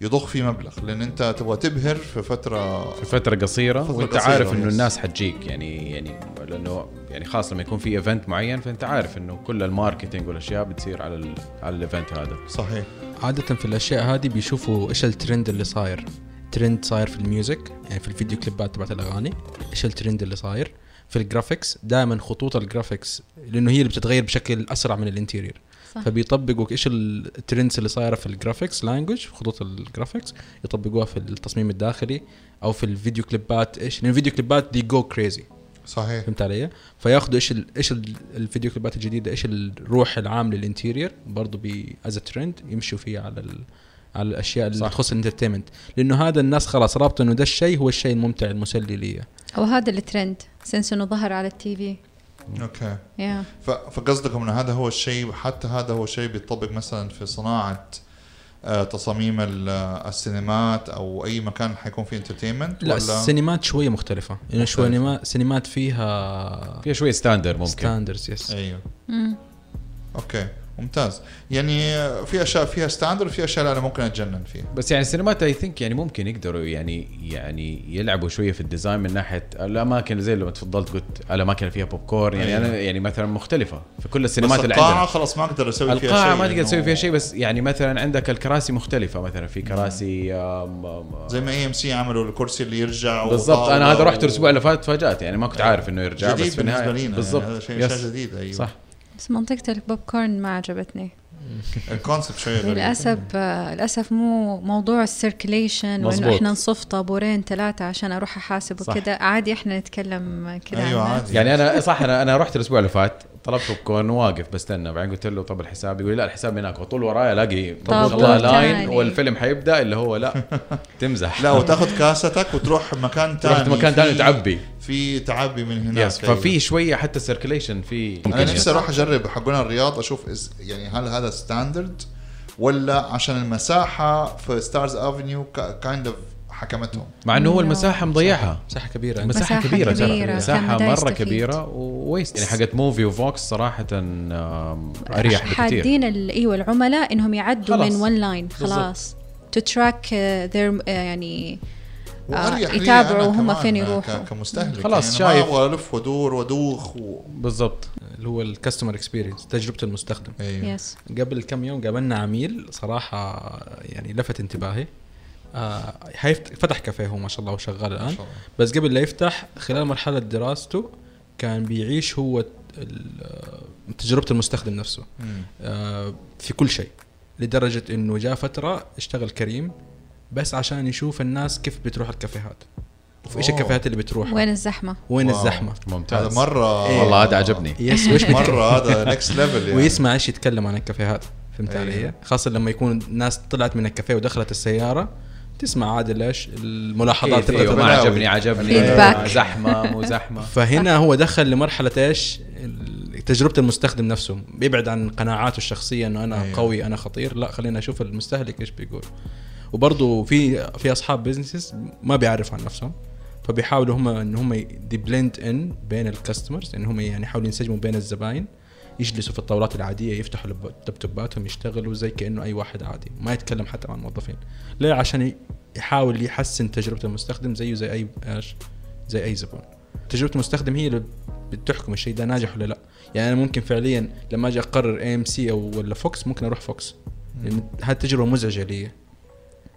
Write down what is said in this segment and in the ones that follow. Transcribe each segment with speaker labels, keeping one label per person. Speaker 1: يضخ فيه مبلغ لان انت تبغى تبهر في فتره
Speaker 2: في فتره قصيره
Speaker 1: فترة
Speaker 2: وانت
Speaker 1: قصيرة،
Speaker 2: عارف انه
Speaker 1: يس.
Speaker 2: الناس حتجيك يعني يعني لانه يعني خاص لما يكون في ايفنت معين فانت عارف انه كل الماركتينج والاشياء بتصير على ال على الايفنت هذا
Speaker 1: صحيح
Speaker 3: عادة في الأشياء هذه بيشوفوا إيش الترند اللي صاير ترند صاير في الميوزك يعني في الفيديو كليبات تبعت الأغاني إيش الترند اللي صاير في الجرافيكس دائما خطوط الجرافيكس لأنه هي اللي بتتغير بشكل أسرع من الانتيرير
Speaker 4: صح.
Speaker 3: فبيطبقوا إيش الترندز اللي صايرة في الجرافيكس لانجوج خطوط الجرافيكس يطبقوها في التصميم الداخلي أو في الفيديو كليبات إيش لأن الفيديو كليبات دي جو كريزي
Speaker 1: صحيح
Speaker 3: فهمت علي؟ فياخذوا ايش ال ايش ال الفيديو كليبات الجديده ايش الروح العام للانتيرير برضه بي از ترند يمشوا فيه على ال على الاشياء اللي
Speaker 2: صح.
Speaker 3: تخص الانترتينمنت لانه هذا الناس خلاص رابطه انه ده الشيء هو الشيء الممتع المسلي لي
Speaker 4: او هذا الترند سنس انه ظهر على التي في
Speaker 1: اوكي
Speaker 4: يا
Speaker 1: ف- فقصدكم ان هذا هو الشيء حتى هذا هو الشيء بيطبق مثلا في صناعه آه، تصاميم ال- آه، السينمات او اي مكان حيكون فيه انترتينمنت
Speaker 3: لا
Speaker 1: ولا
Speaker 3: السينمات شويه مختلفه لانه شويه
Speaker 1: مختلفة.
Speaker 3: نما- سينمات فيها
Speaker 2: فيها شويه ستاندر ممكن إيه.
Speaker 3: ستاندرز يس
Speaker 1: ايوه
Speaker 4: مم.
Speaker 1: اوكي ممتاز يعني آه، في اشياء فيها ستاندرد وفي اشياء لا انا ممكن اتجنن فيها
Speaker 2: بس يعني السينمات اي ثينك يعني ممكن يقدروا يعني يعني يلعبوا شويه في الديزاين من ناحيه الاماكن زي اللي تفضلت قلت الاماكن اللي فيها بوب كورن يعني
Speaker 1: أيوة.
Speaker 2: انا يعني مثلا مختلفه في كل
Speaker 1: بس
Speaker 2: السينمات اللي
Speaker 1: القاعه
Speaker 2: عندنا
Speaker 1: خلاص ما اقدر اسوي فيها شيء
Speaker 2: القاعه ما تقدر
Speaker 1: لأنه
Speaker 2: تسوي فيها شيء بس يعني مثلا عندك الكراسي مختلفه مثلا في كراسي آم، آم،
Speaker 1: زي ما اي ام سي عملوا الكرسي اللي يرجع
Speaker 2: بالضبط
Speaker 1: وطاولة
Speaker 2: انا هذا رحت
Speaker 1: و-
Speaker 2: الاسبوع اللي فات تفاجات يعني ما كنت عارف انه يرجع
Speaker 1: جديد
Speaker 2: بس في
Speaker 1: بالنسبه
Speaker 2: النهايه
Speaker 1: لنا
Speaker 2: بالضبط
Speaker 1: بالضبط هذا شيء
Speaker 2: يس.
Speaker 1: اشياء جديده ايوه
Speaker 2: صح
Speaker 4: بس منطقة البوب كورن ما عجبتني
Speaker 1: الكونسبت شويه غريب
Speaker 4: للأسف آه، للأسف مو موضوع السيركليشن وإنه
Speaker 2: مظبوط.
Speaker 4: إحنا نصف طابورين ثلاثة عشان أروح أحاسب
Speaker 2: صح.
Speaker 4: وكذا عادي إحنا نتكلم كذا
Speaker 1: ايوه
Speaker 4: عنها.
Speaker 1: عادي
Speaker 2: يعني انا صح انا انا رحت الاسبوع اللي فات طلبت بوب كورن واقف بستنى بعدين قلت له طب الحساب يقول لي لا الحساب هناك وطول وراي الاقي
Speaker 4: طابور
Speaker 2: الله لاين
Speaker 4: تاني.
Speaker 2: والفيلم حيبدا اللي هو لا تمزح
Speaker 1: لا وتاخذ كاستك وتروح مكان ثاني
Speaker 2: رحت مكان ثاني تعبي
Speaker 1: في تعبي من هناك
Speaker 2: يس ففي شويه حتى سيركليشن في
Speaker 1: انا نفسي اروح اجرب حقنا الرياض اشوف إز يعني هل هذا ستاندرد ولا عشان المساحه في ستارز افنيو كايند اوف حكمتهم
Speaker 2: مع انه هو المساحه مضيعها
Speaker 3: مساحه كبيره
Speaker 2: مساحة,
Speaker 4: مساحة
Speaker 2: كبيرة
Speaker 4: كبيرة،
Speaker 2: ترى
Speaker 4: كان
Speaker 2: مساحة
Speaker 4: بدأ
Speaker 2: مرة
Speaker 4: يستفيد.
Speaker 2: كبيرة وويست يعني حقت موفي وفوكس صراحة آم، اريح بكثير
Speaker 4: حادين ال- ايوه العملاء انهم يعدوا
Speaker 2: أيوة، خلاص.
Speaker 4: من ون لاين خلاص تو تراك ذير يعني آه،
Speaker 1: واريح لي
Speaker 4: يتابعوا
Speaker 1: أنا
Speaker 4: هم
Speaker 1: كمان
Speaker 4: فين
Speaker 1: ك-
Speaker 4: يروحوا.
Speaker 1: كمستهلك
Speaker 2: خلاص،
Speaker 1: يعني أنا
Speaker 2: شايف.
Speaker 1: ما ابغى الف وادور وادوخ و...
Speaker 2: بالضبط
Speaker 3: اللي هو الكاستمر اكسبيرينس تجربه المستخدم
Speaker 2: أيوة.
Speaker 1: ايوه
Speaker 4: يس
Speaker 3: قبل كم يوم قابلنا عميل صراحه يعني لفت انتباهي آه حيفت- فتح كافيه هو ما شاء الله وشغال
Speaker 1: ما
Speaker 3: الان
Speaker 1: شاء الله.
Speaker 3: بس قبل لا يفتح خلال مرحلة دراسته كان بيعيش هو ال- تجربة المستخدم نفسه
Speaker 1: مم.
Speaker 3: آه، في كل شيء لدرجة انه جاء فترة اشتغل كريم بس عشان يشوف الناس كيف بتروح الكافيهات وايش
Speaker 1: أوه.
Speaker 3: الكافيهات اللي بتروحها
Speaker 4: وين الزحمه؟
Speaker 3: وين
Speaker 1: واو.
Speaker 3: الزحمة
Speaker 1: هذا
Speaker 2: ممتاز إيه.
Speaker 1: مره
Speaker 2: والله هذا عجبني
Speaker 3: يس وإيش بت-
Speaker 1: مره هذا نكست ليفل يعني
Speaker 3: ويسمع ايش يتكلم عن الكافيهات فهمت
Speaker 1: أيوه.
Speaker 3: علي؟ خاصة لما يكون الناس طلعت من الكافيه ودخلت السيارة تسمع عادل ايش
Speaker 1: إيه،
Speaker 3: الملاحظات
Speaker 2: أكيد،
Speaker 3: تبعت
Speaker 2: أيوة، ما
Speaker 1: البلاوي.
Speaker 2: عجبني عجبني
Speaker 4: Feedback.
Speaker 2: زحمه مو زحمه
Speaker 3: فهنا هو دخل لمرحله ايش؟ ال- تجربه المستخدم نفسه بيبعد عن قناعاته الشخصيه انه انا
Speaker 1: أيوه.
Speaker 3: أيوه. قوي انا خطير لا خلينا اشوف المستهلك ايش بيقول وبرضه في في اصحاب بزنسز ما بيعرفوا عن نفسهم فبيحاولوا هم ان هم دي بلند ان بين الكاستمرز ان هم يعني يحاولوا ينسجموا بين الزباين يجلسوا في الطاولات العاديه يفتحوا لب- لابتوباتهم يشتغلوا زي كانه اي واحد عادي ما يتكلم حتى مع الموظفين ليه عشان ي- يحاول يحسن تجربه المستخدم زيه زي اي ايش زي اي زبون تجربه المستخدم هي اللي بتحكم الشيء ده ناجح ولا لا يعني انا ممكن فعليا لما اجي اقرر اي ام سي او ولا فوكس ممكن اروح فوكس لان هذه تجربه مزعجه لي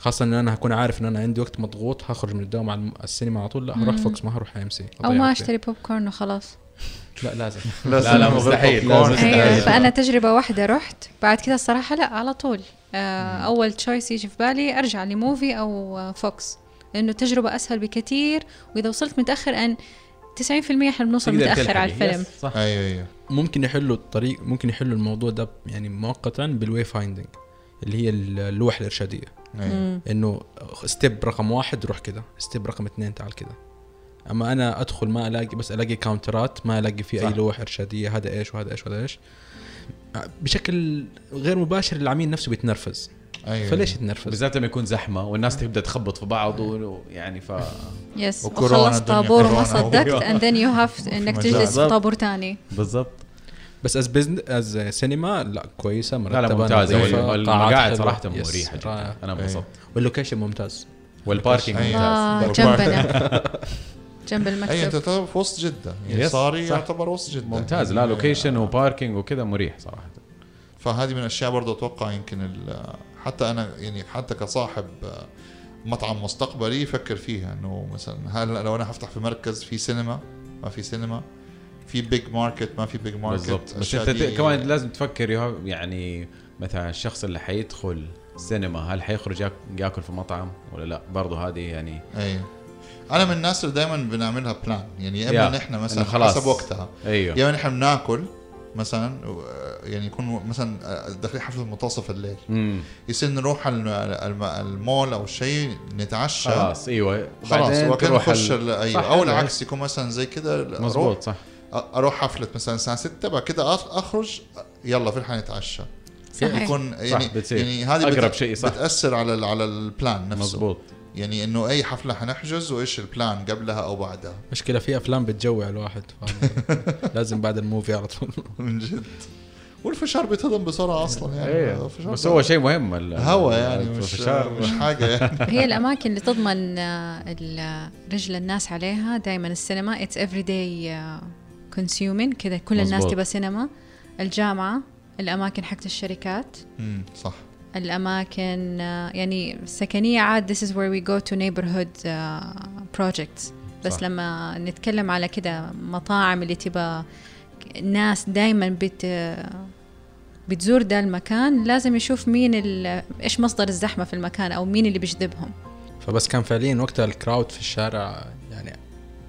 Speaker 3: خاصة ان انا هكون عارف ان انا عندي وقت مضغوط هخرج من الدوام على الم- السينما على طول لا هروح
Speaker 4: مم.
Speaker 3: فوكس ما هروح اي ام سي
Speaker 4: او ما اشتري بوب كورن وخلاص
Speaker 3: لا لازم
Speaker 2: لا، لا، مستحيل،
Speaker 1: لازم
Speaker 2: لازم.
Speaker 4: ايوه
Speaker 2: أيوة.
Speaker 4: فانا تجربه واحده رحت بعد كذا الصراحه لا على طول آه اول تشويس يجي في بالي ارجع لموفي او آه، فوكس لانه التجربه اسهل بكثير واذا وصلت متاخر ان 90% احنا بنوصل
Speaker 2: تقدر
Speaker 4: متاخر
Speaker 2: تلحق.
Speaker 4: على الفيلم
Speaker 2: يس، صح
Speaker 1: ايوه ايوه
Speaker 3: ممكن يحلوا الطريق ممكن يحلوا الموضوع ده يعني مؤقتا بالواي فايندنج اللي هي ال- اللوح الارشاديه
Speaker 1: ايوه
Speaker 4: مم.
Speaker 3: انه ستيب رقم واحد روح كده ستيب رقم اثنين تعال كده اما انا ادخل ما الاقي بس الاقي كاونترات ما الاقي في اي
Speaker 2: صح.
Speaker 3: لوح ارشاديه هذا ايش وهذا ايش وهذا ايش بشكل غير مباشر العميل نفسه بيتنرفز
Speaker 2: إيه.
Speaker 1: ايوه
Speaker 3: فليش يتنرفز
Speaker 2: بالذات لما يكون زحمه والناس تبدا تخبط في بعض ويعني ف أيوة.
Speaker 4: يس
Speaker 1: وكورونا
Speaker 4: وخلصت
Speaker 1: الدنيا
Speaker 4: طابور وما
Speaker 1: كورونا.
Speaker 4: صدقت and then you have انك
Speaker 1: مجال.
Speaker 4: تجلس في
Speaker 2: بالضبط.
Speaker 4: طابور تاني
Speaker 2: بالضبط
Speaker 3: بس از بزن از سينما لا كويسه
Speaker 2: لا
Speaker 3: مرتبه
Speaker 2: لا ممتازه
Speaker 3: نظيفة،
Speaker 2: وال-
Speaker 3: قاعات
Speaker 2: والمقاعد
Speaker 3: حلوة.
Speaker 2: صراحه
Speaker 3: يس،
Speaker 2: مريحه
Speaker 3: رائع.
Speaker 2: جدا انا
Speaker 1: إيه.
Speaker 2: انبسطت
Speaker 3: واللوكيشن ممتاز
Speaker 2: والباركينج
Speaker 1: أي.
Speaker 2: ممتاز
Speaker 4: اه
Speaker 1: ممتاز.
Speaker 4: جنبنا جنب
Speaker 1: اي انت تعتبر
Speaker 4: المكتب
Speaker 1: في أيوة، وسط جده يعني
Speaker 2: يس،
Speaker 1: صاري
Speaker 2: صح.
Speaker 1: يعتبر وسط جده
Speaker 2: ممتاز لا
Speaker 1: يعني
Speaker 2: لوكيشن وباركينج وكذا مريح صراحه
Speaker 1: فهذه من الاشياء برضه اتوقع يمكن ال- حتى انا يعني حتى كصاحب مطعم مستقبلي يفكر فيها انه مثلا هل لو انا هفتح في مركز في سينما ما في سينما في بيج ماركت ما في بيج ماركت
Speaker 2: بالضبط بس
Speaker 1: الأشياء
Speaker 2: انت
Speaker 1: دي-
Speaker 2: ت- كمان لازم تفكر يا- يعني مثلا الشخص اللي حيدخل سينما هل حيخرج ياك- ياكل في مطعم ولا لا برضه هذه يعني
Speaker 1: اي انا من الناس اللي دائما بنعملها بلان يعني يا
Speaker 2: يا،
Speaker 1: اما نحن مثلا
Speaker 2: إنه خلاص.
Speaker 1: حسب وقتها
Speaker 2: ايوه
Speaker 1: يا اما نحن بناكل مثلا و- يعني يكون مثلا داخلين حفله منتصف الليل
Speaker 2: امم
Speaker 1: يصير نروح الم- الم- المول او شيء نتعشى
Speaker 2: خلاص ايوه
Speaker 1: خلاص
Speaker 2: بعدين
Speaker 1: وكان
Speaker 2: تروح
Speaker 1: نخش
Speaker 2: ال-
Speaker 1: ال...
Speaker 2: صح،
Speaker 1: ايوه او
Speaker 2: أيوة.
Speaker 1: العكس يكون مثلا زي كده ال-
Speaker 2: مزبوط صح
Speaker 1: اروح اروح حفله مثلا الساعه 6 بعد كده أخ- اخرج يلا في الحين نتعشى
Speaker 4: صحيح
Speaker 1: يكون يعني
Speaker 2: بتصير.
Speaker 1: يعني هذه
Speaker 2: أقرب شيء، صح.
Speaker 1: بتاثر على ال... على البلان نفسه مزبوط.
Speaker 2: مزبوط
Speaker 1: يعني انه اي حفله حنحجز وايش البلان قبلها او بعدها
Speaker 3: مشكله في افلام بتجوع الواحد فاهم؟ لازم بعد الموفي على طول
Speaker 1: من جد والفشار بيتهضم بسرعه اصلا يعني
Speaker 2: ايه
Speaker 1: الفشار
Speaker 2: بس
Speaker 1: ده
Speaker 2: هو شيء مهم ال-
Speaker 1: هوا
Speaker 2: ال-
Speaker 1: يعني مش
Speaker 2: الفشار.
Speaker 1: مش حاجه يعني
Speaker 4: هي الاماكن اللي تضمن آه، ال- رجل الناس عليها دائما السينما اتس افري داي كونسيومين آه، كذا كل الناس
Speaker 2: مظبوط.
Speaker 4: تبى سينما الجامعه الاماكن حقت الشركات
Speaker 1: أمم، صح
Speaker 4: الاماكن آه، يعني السكنيه عاد this is where we go to neighborhood آه، projects بس
Speaker 1: صح.
Speaker 4: صح. لما نتكلم على كده مطاعم اللي تبقى ناس دائما بت بتزور ده المكان لازم يشوف مين ال... ايش مصدر الزحمه في المكان او مين اللي بيجذبهم
Speaker 3: فبس كان فعليا وقتها الكراود في الشارع يعني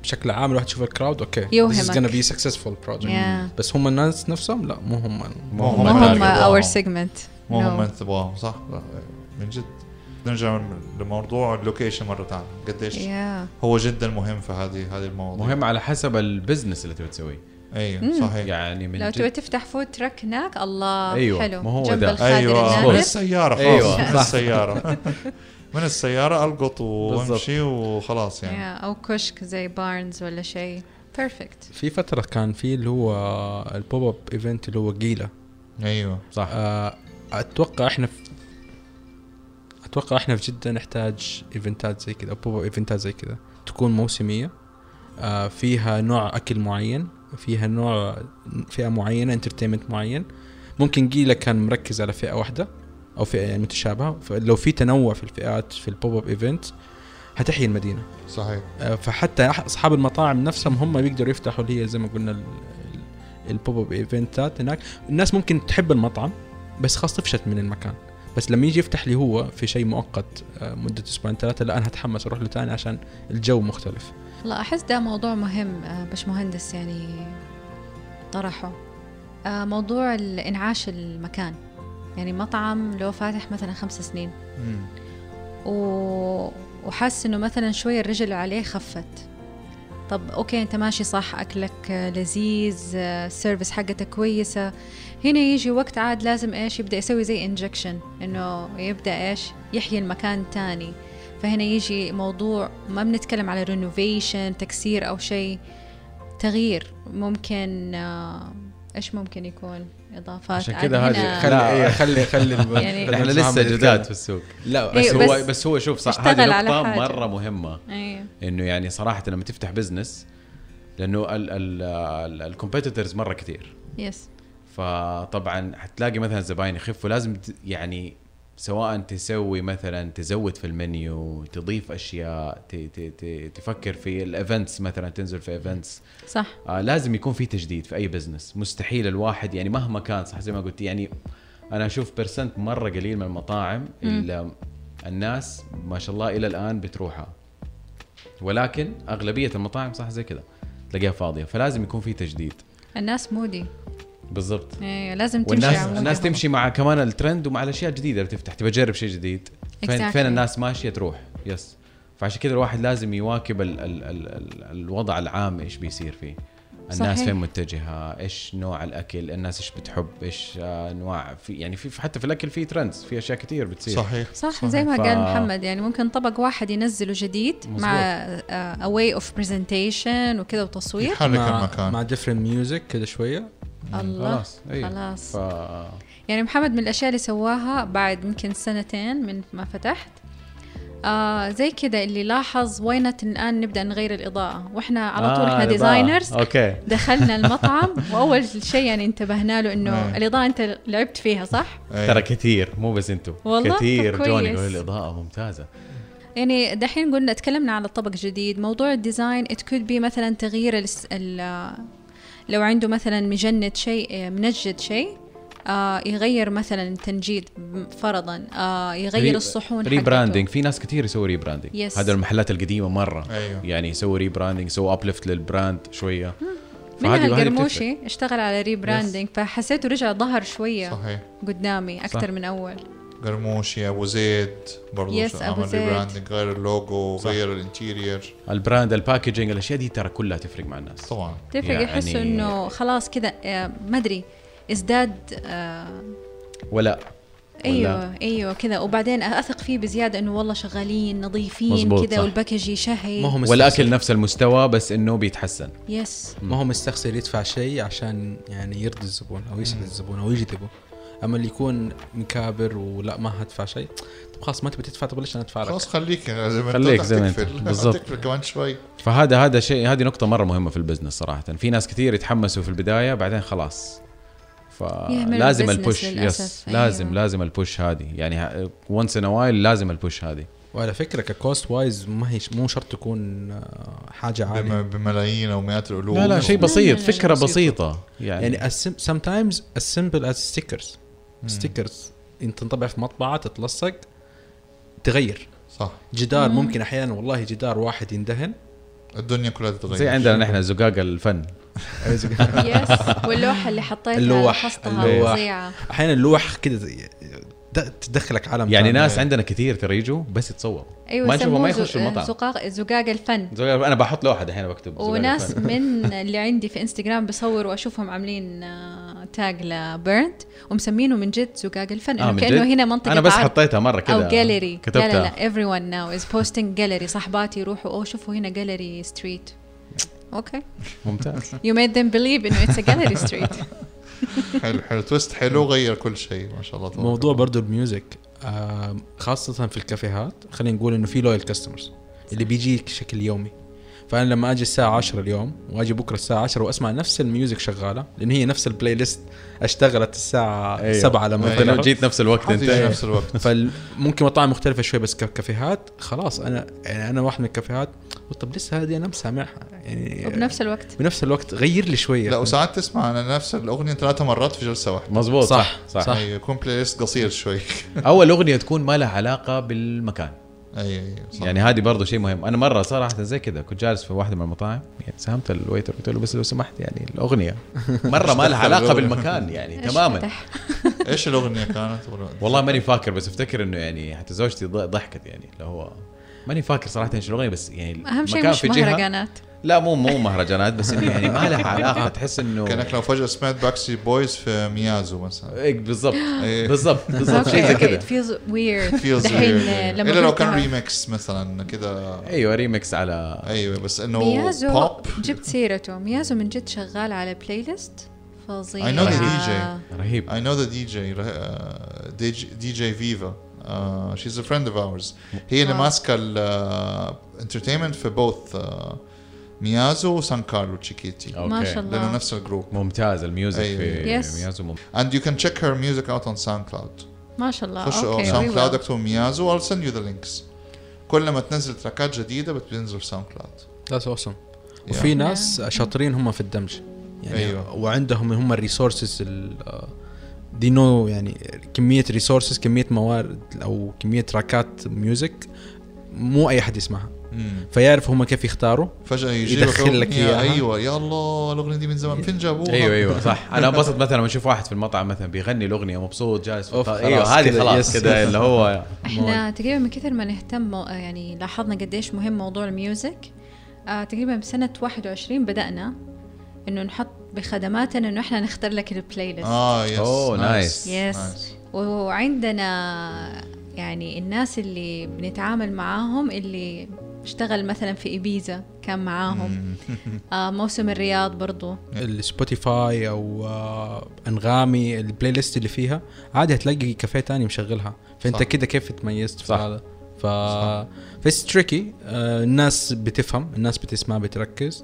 Speaker 3: بشكل عام الواحد يشوف الكراود اوكي this is
Speaker 4: يوهمك.
Speaker 3: gonna be successful project
Speaker 4: yeah.
Speaker 3: بس هم الناس نفسهم لا مو هم
Speaker 1: مو هم
Speaker 4: ما هم
Speaker 1: التارجت.
Speaker 4: اور
Speaker 2: آه.
Speaker 4: سيجمنت
Speaker 1: مو هم اللي تبغاهم صح لا، من جد نرجع لموضوع اللوكيشن مره ثانيه قديش
Speaker 4: يا
Speaker 1: هو جدا مهم في هذه هذه المواضيع
Speaker 2: مهم على حسب البزنس اللي تبي تسويه
Speaker 1: ايوه صحيح
Speaker 2: يعني من
Speaker 4: لو
Speaker 2: جد-
Speaker 4: تبي تفتح فود تراك هناك الله
Speaker 2: أيوة،
Speaker 4: حلو
Speaker 2: ما هو
Speaker 4: جنب
Speaker 2: ده.
Speaker 4: الخادم
Speaker 1: أيوة. من
Speaker 4: النادر.
Speaker 1: السيارة خلاص
Speaker 2: أيوة.
Speaker 1: من السيارة من السيارة القط وامشي وخلاص يعني
Speaker 4: يا، او كشك زي بارنز ولا شيء بيرفكت
Speaker 3: في فتره كان في اللي هو البوب اب ايفنت اللي هو جيله
Speaker 1: ايوه
Speaker 2: صح
Speaker 3: آه، اتوقع احنا في اتوقع احنا في جده نحتاج ايفنتات زي كذا بوب ايفنتات زي كذا تكون موسميه آه، فيها نوع اكل معين فيها نوع فئه معينه انترتينمنت معين ممكن جيله كان مركز على فئه واحده او فئه يعني متشابهه فلو في تنوع في الفئات في البوب اب ايفنت هتحيي المدينه
Speaker 1: صحيح
Speaker 3: آه، فحتى أح- اصحاب المطاعم نفسهم هم بيقدروا يفتحوا اللي هي زي ما قلنا ال- ال- البوب اب ايفنتات هناك الناس ممكن تحب المطعم بس خلاص طفشت من المكان بس لما يجي يفتح لي هو في شيء مؤقت آه، مدة اسبوعين ثلاثة لا انا هتحمس اروح له ثاني عشان الجو مختلف
Speaker 4: والله احس ده موضوع مهم آه، باش مهندس يعني طرحه آه، موضوع ال- انعاش المكان يعني مطعم لو فاتح مثلا خمس سنين
Speaker 1: مم.
Speaker 4: و... وحاسس انه مثلا شويه الرجل عليه خفت طب اوكي انت ماشي صح اكلك آه، لذيذ آه، السيرفيس حقتك كويسه هنا يجي وقت عاد لازم ايش يبدا يسوي زي انجكشن انه يبدا ايش يحيي المكان تاني فهنا يجي موضوع ما بنتكلم على رينوفيشن تكسير او شيء تغيير ممكن آه، ايش ممكن يكون اضافات
Speaker 2: عشان
Speaker 4: عاد
Speaker 2: كده
Speaker 4: هنا-
Speaker 2: هذه خلي إيه،
Speaker 3: خلي خلي
Speaker 4: يعني- خلي
Speaker 2: احنا لسه جداد في السوق
Speaker 3: لا
Speaker 2: بس
Speaker 4: إيه،
Speaker 2: هو
Speaker 4: بس
Speaker 2: بس هو شوف صح
Speaker 4: اشتغل
Speaker 2: هذه
Speaker 4: على
Speaker 2: نقطة
Speaker 4: حاجة.
Speaker 2: مرة مهمة
Speaker 4: ايوه
Speaker 2: انه يعني صراحة لما تفتح بزنس لانه الكومبيتيتورز مرة كثير
Speaker 4: يس
Speaker 2: فطبعا حتلاقي مثلا الزباين يخفوا لازم ت- يعني سواء تسوي مثلا تزود في المنيو تضيف اشياء ت ت ت تفكر في الايفنتس مثلا تنزل في ايفنتس
Speaker 4: صح
Speaker 2: آه لازم يكون في تجديد في اي بزنس مستحيل الواحد يعني مهما كان صح زي ما قلت يعني انا اشوف برسنت مره قليل من المطاعم اللي الناس ما شاء الله الى الان بتروحها ولكن اغلبيه المطاعم صح زي كذا تلاقيها فاضيه فلازم يكون في تجديد
Speaker 4: الناس مودي
Speaker 2: بالضبط
Speaker 4: ايه لازم تمشي
Speaker 2: والناس
Speaker 4: عموماً.
Speaker 2: الناس تمشي مع كمان الترند ومع الاشياء الجديده اللي بتفتح تبى تجرب شيء جديد فين
Speaker 4: Exactly.
Speaker 2: فين الناس ماشيه تروح يس فعشان كذا الواحد لازم يواكب ال ال ال ال الوضع العام ايش بيصير فيه الناس
Speaker 4: صحيح.
Speaker 2: فين متجهه ايش نوع الاكل الناس ايش بتحب ايش آه، انواع في يعني في حتى في الاكل في ترندز في اشياء كثير بتصير
Speaker 1: صحيح
Speaker 4: صح زي ما
Speaker 2: ف-
Speaker 4: قال محمد يعني ممكن طبق واحد ينزله جديد
Speaker 2: مظبوط.
Speaker 4: مع واي اوف برزنتيشن وكذا وتصوير
Speaker 1: يحرك
Speaker 3: مع
Speaker 1: المكان
Speaker 3: مع ديفرنت ميوزك كذا شويه
Speaker 4: الله
Speaker 2: خلاص أيوة.
Speaker 4: خلاص.
Speaker 2: ف...
Speaker 4: يعني محمد من الاشياء اللي سواها بعد يمكن سنتين من ما فتحت آه زي كذا اللي لاحظ وينة الان نبدا نغير الاضاءه واحنا على طول
Speaker 2: آه،
Speaker 4: احنا
Speaker 2: الإضاءة.
Speaker 4: ديزاينرز
Speaker 2: اوكي
Speaker 4: دخلنا المطعم واول شيء يعني انتبهنا له
Speaker 1: أي.
Speaker 2: نعم.
Speaker 4: انه الاضاءه انت لعبت فيها صح
Speaker 1: أي.
Speaker 2: ترى كثير مو بس انتم
Speaker 4: والله؟ طب
Speaker 2: كثير جوني
Speaker 4: كويس.
Speaker 2: يقول الاضاءه ممتازه
Speaker 4: يعني دحين قلنا تكلمنا على طبق جديد موضوع الديزاين it could be مثلا تغيير الس... ال... لو عنده مثلا مجند شيء منجد شيء آه يغير مثلا تنجيد فرضا آه يغير
Speaker 2: ري-
Speaker 4: الصحون
Speaker 2: ريبراندنج في ناس كثير يسوي ريبراندنج
Speaker 4: Yes.
Speaker 2: هذا المحلات القديمه مره
Speaker 1: أيوه.
Speaker 2: يعني يسوي ريبراندنج يسوي ابليفت للبراند شويه
Speaker 4: منها
Speaker 2: وهذه بتفرق.
Speaker 4: القرموشي اشتغل على ريبراندنج فحسيته رجع ظهر شوية
Speaker 1: صحيح
Speaker 4: قدامي أكثر من أول
Speaker 1: قرموشي ابو زيد برضه
Speaker 4: Yes، أبو
Speaker 1: عمل
Speaker 4: زيد.
Speaker 1: ريبراندنج غير اللوجو غير الانتيرير
Speaker 2: البراند الباكجينج الاشياء دي ترى كلها تفرق مع الناس
Speaker 1: طبعا
Speaker 4: تفرق
Speaker 2: يعني-
Speaker 4: يعني يحسوا إنه خلاص كذا آه، ما أدري ازداد آه
Speaker 2: ولا
Speaker 4: ايوه ايوه كذا وبعدين اثق فيه بزياده انه والله شغالين نظيفين
Speaker 2: مظبوط،
Speaker 4: كذا
Speaker 2: صح.
Speaker 4: والباكج شهي
Speaker 3: ما هو
Speaker 2: والاكل
Speaker 3: مستخسر
Speaker 2: نفس المستوى بس انه بيتحسن
Speaker 4: يس
Speaker 3: ما هو مستخسر يدفع شيء عشان يعني يرضي الزبون او يسعد الزبون او يجذبه اما اللي يكون مكابر ولا ما هدفع شيء طب خلاص ما تبي تدفع طب ليش انا ادفع لك؟
Speaker 1: خلاص خليك زي ما
Speaker 2: خليك
Speaker 1: أنت
Speaker 2: زي ما أنت.
Speaker 1: تقفل.
Speaker 2: بالضبط.
Speaker 1: تقفل كمان شوي
Speaker 2: فهذا هذا شيء هذه نقطه مره مهمه في البزنس صراحه في ناس كثير يتحمسوا في البدايه بعدين خلاص
Speaker 4: يهملوا
Speaker 2: فلازم
Speaker 4: البزنس
Speaker 2: البوش يس
Speaker 4: للأسف،
Speaker 2: لازم
Speaker 4: أيوة.
Speaker 2: لازم البوش هذه يعني وانس ان وايل لازم البوش هذه
Speaker 3: وعلى فكره ككوست وايز ما هي مو شرط تكون آه، حاجه عاليه
Speaker 1: بم- بملايين او مئات الالوف
Speaker 2: لا لا شيء بسيط
Speaker 4: لا، لا، لا،
Speaker 2: فكره
Speaker 3: بسيطة.
Speaker 2: بسيطه يعني, يعني
Speaker 3: يعني سم تايمز از سمبل از ستيكرز ستيكرز انت تنطبع في مطبعه تتلصق تغير
Speaker 1: صح
Speaker 3: جدار ممكن احيانا والله جدار واحد يندهن
Speaker 1: الدنيا كلها تتغير
Speaker 2: زي عندنا نحن زقاق الفن
Speaker 4: يس واللوحه اللي حطيتها
Speaker 3: اللوح،
Speaker 4: فصلها
Speaker 3: اللوح.
Speaker 4: فظيعه
Speaker 3: احيانا اللوح كده زي- د- تدخلك عالم
Speaker 2: يعني
Speaker 3: ثاني.
Speaker 2: ناس عندنا كثير ترى يجوا بس يتصور
Speaker 4: ايوه
Speaker 2: ما يشوفوا ما
Speaker 4: يسموه
Speaker 2: يخشوا
Speaker 4: زق-
Speaker 2: المطعم
Speaker 4: زقاق زقاق الفن
Speaker 2: زقاق الفن. انا بحط لوحه دحين بكتب زقاق
Speaker 4: وناس
Speaker 2: الفن.
Speaker 4: من اللي عندي في انستغرام بصوروا واشوفهم عاملين آه، تاج لبيرنت ومسمينه من جد زقاق الفن
Speaker 2: آه،
Speaker 4: انه
Speaker 2: من
Speaker 4: كانه
Speaker 2: جد؟
Speaker 4: هنا منطقه
Speaker 2: انا بس
Speaker 4: عرض
Speaker 2: حطيتها مره كذا
Speaker 4: او جاليري
Speaker 2: كتبتها
Speaker 4: لا لا لا ايفري ون ناو از بوستنج جاليري صحباتي يروحوا اوه شوفوا هنا جاليري ستريت اوكي
Speaker 2: ممتاز
Speaker 4: يو ميد ذم بليف انه اتس جاليري ستريت
Speaker 1: حلو حلو تويست حلو غير كل شيء ما شاء الله تبارك
Speaker 3: موضوع برضو الميوزك آه، خاصة في الكافيهات خلينا نقول انه في لويال كاستمرز اللي بيجيك بشكل يومي فانا لما اجي الساعة 10 اليوم واجي بكره الساعة 10 واسمع نفس الميوزك شغالة لان هي نفس البلاي ليست اشتغلت الساعة 7 لما
Speaker 1: أيوة.
Speaker 2: لو
Speaker 3: فتحت.
Speaker 2: جيت نفس الوقت
Speaker 1: حتيجي
Speaker 2: انت
Speaker 1: نفس الوقت
Speaker 3: فممكن مطاعم مختلفة شوي بس كافيهات خلاص انا يعني انا واحد من الكافيهات طب لسه هذه انا مسامعها يعني
Speaker 4: وبنفس الوقت
Speaker 3: بنفس الوقت غير لي شوية
Speaker 1: لا وساعات تسمع انا نفس الاغنيه ثلاثة مرات في جلسه واحده
Speaker 2: مزبوط صح صح,
Speaker 3: صح، صح.
Speaker 1: أيوة، يكون بلاي ليست قصير شوي
Speaker 2: اول اغنيه تكون ما لها علاقه بالمكان
Speaker 1: اي اي صح
Speaker 2: يعني هذه برضو شيء مهم انا مره صراحه زي كذا كنت جالس في واحده من المطاعم يعني ساهمت الويتر قلت له بس لو سمحت يعني الاغنيه مره ما لها علاقه بالمكان يعني
Speaker 4: إيش
Speaker 2: تماما
Speaker 4: فتح؟
Speaker 1: ايش الاغنيه كانت ولا-
Speaker 2: والله ماني فاكر بس افتكر انه يعني حتى زوجتي ض- ضحكت يعني اللي هو ماني فاكر صراحه ايش الاغنيه بس يعني
Speaker 4: اهم شيء
Speaker 2: المكان
Speaker 4: مش مهرجانات
Speaker 2: لا مو مو مهرجانات بس انه يعني ما لها علاقه تحس انه
Speaker 1: كانك لو فجاه سمعت باكسي بويز في ميازو مثلا
Speaker 2: إيه بالضبط
Speaker 1: إيه.
Speaker 2: بالضبط بالضبط شيء
Speaker 4: اوكي
Speaker 2: زي
Speaker 4: اوكي
Speaker 2: كذا
Speaker 4: ات فيلز ويرد
Speaker 1: فيلز
Speaker 4: دحين آه، لما
Speaker 1: الا لو كان
Speaker 4: قلتها-
Speaker 1: ريميكس مثلا كذا
Speaker 2: ايوه ريمكس على
Speaker 1: ايوه بس انه
Speaker 4: ميازو
Speaker 1: بوب
Speaker 4: جبت سيرته ميازو من جد شغال على بلاي ليست فظيع آه،
Speaker 1: I know the DJ.
Speaker 2: رهيب
Speaker 1: I know the DJ, uh, DJ, DJ Viva. Uh, she's a friend of ours. هي اللي
Speaker 4: Wow.
Speaker 1: ماسكة الانترتينمنت في uh, both uh, ميازو وسان كارلو تشيكيتي
Speaker 4: ما
Speaker 2: أوكي.
Speaker 4: شاء الله.
Speaker 1: لأنه نفس الجروب.
Speaker 2: ممتاز الميوزك
Speaker 1: أيوة.
Speaker 2: في
Speaker 4: Yes.
Speaker 2: ميازو ممتاز
Speaker 1: And you can check her music out on SoundCloud.
Speaker 4: ما شاء الله
Speaker 1: خش
Speaker 4: اوكي Ah, we will.
Speaker 1: ساوند كلاود اكتب ميازو I'll send you the links. كل ما تنزل تراكات جديدة بتنزل في ساوند كلاود.
Speaker 3: ذاتس اوسم وفي ناس شاطرين هم في الدمج يعني
Speaker 1: أيوة.
Speaker 3: أيوة. وعندهم هم الريسورسز دي نو يعني كميه ريسورسز كميه موارد او كميه تراكات ميوزك مو اي حد يسمعها
Speaker 1: Hmm.
Speaker 3: فيعرف هم كيف يختاروا
Speaker 1: فجأة
Speaker 3: يدخل
Speaker 1: يجيب
Speaker 3: لك إياها.
Speaker 1: ايوه يا الله الأغنية دي من زمان فين جابوها؟
Speaker 2: ايوه ايوه صح انا انبسط مثلا لما اشوف واحد في المطعم مثلا بيغني الاغنيه مبسوط جالس في
Speaker 3: أوف،
Speaker 2: الط-
Speaker 3: خلاص
Speaker 2: ايوه هذه
Speaker 3: كده،
Speaker 2: خلاص
Speaker 3: yes.
Speaker 2: كذا اللي هو
Speaker 4: احنا تقريبا من كثر ما نهتم مو- يعني لاحظنا قديش مهم موضوع الميوزك آه تقريبا بسنة 21 بدأنا انه نحط بخدماتنا انه احنا نختار لك البلاي ليست
Speaker 1: اه يس
Speaker 4: Oh,
Speaker 2: أوه،
Speaker 1: nice.
Speaker 4: يس
Speaker 1: nice.
Speaker 4: وعندنا يعني الناس اللي بنتعامل معاهم اللي اشتغل مثلا في إبيزا كان معاهم
Speaker 1: مم.
Speaker 4: آه موسم الرياض برضو
Speaker 3: السبوتيفاي او آه، انغامي البلاي ليست اللي فيها عادي هتلاقي كافيه تاني مشغلها فانت
Speaker 1: صح.
Speaker 3: كده كيف تميزت في
Speaker 2: صح.
Speaker 3: هذا ف فس تريكي الناس بتفهم الناس بتسمع بتركز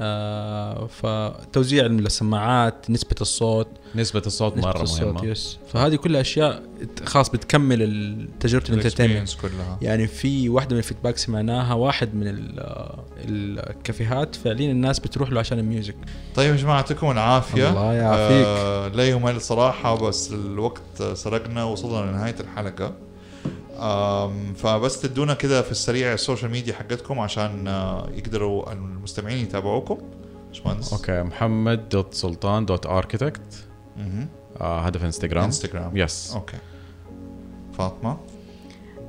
Speaker 3: آه، فتوزيع السماعات نسبة الصوت
Speaker 2: نسبه الصوت
Speaker 3: نسبة
Speaker 2: مره
Speaker 3: الصوت
Speaker 2: مهمه
Speaker 3: يس فهذه كلها اشياء خاص بتكمل ال- تجربة الانترتينمنت
Speaker 1: الإكسبيرينس كلها
Speaker 3: يعني في واحدة من الفيدباك سمعناها واحد من ال- آه، الكافيهات فعليا الناس بتروح له عشان الميوزك
Speaker 1: طيب يا جماعه يعطيكم العافيه
Speaker 3: الله يعافيك.
Speaker 1: آه لا يمل صراحه بس الوقت سرقنا وصلنا لنهايه الحلقه آم فبس تدونا كده في السريع السوشيال ميديا حقتكم عشان آه يقدروا المستمعين يتابعوكم باشمهندس
Speaker 2: اوكي محمد دوت سلطان دوت اركتكت
Speaker 1: مهم.
Speaker 2: هدف انستغرام
Speaker 1: انستغرام
Speaker 2: يس
Speaker 1: اوكي فاطمه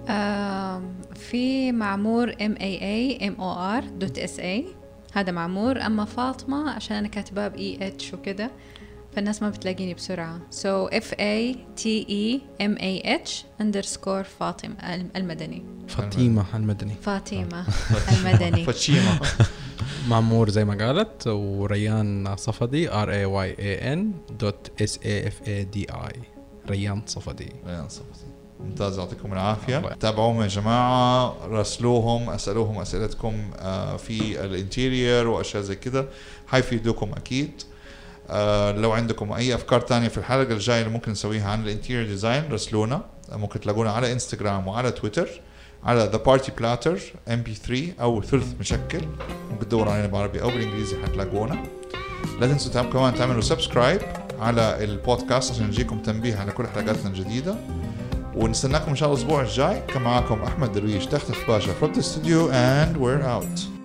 Speaker 4: آه في معمور ام اي اي ام او ار دوت اس اي هذا معمور اما فاطمه عشان انا كاتباه باي اتش E وكده فالناس ما بتلاقيني بسرعه سو اف اي تي اي ام اي اتش اندرسكور فاطم الم- المدني
Speaker 3: فاطمة المدني
Speaker 4: فاطمه المدني
Speaker 1: فتشيمه
Speaker 3: معمور زي ما قالت وريان صفدي ار اي واي اي ان دوت اس اي اف اي دي اي ريان صفدي
Speaker 1: لا صفتي ممتاز يعطيكم العافية تابعوهم يا جماعة راسلوهم اسألوهم اسئلتكم آه، في الانتيرير واشياء زي كده حيفيدوكم اكيد آه، لو عندكم اي افكار تانية في الحلقة الجاية اللي ممكن نسويها عن الانتيرير ديزاين راسلونا ممكن تلاقونا على انستغرام وعلى تويتر على ذا بارتي بلاتر ام بي 3 او ثلث مشكل ممكن تدوروا علينا بالعربي او بالانجليزي حتلاقونا لا تنسوا تام- كمان تعملوا سبسكرايب على البودكاست عشان يجيكم تنبيه على كل حلقاتنا الجديدة ونستناكم ان شاء الله الاسبوع الجاي كان معاكم احمد درويش تختف باشا from the studio and we're out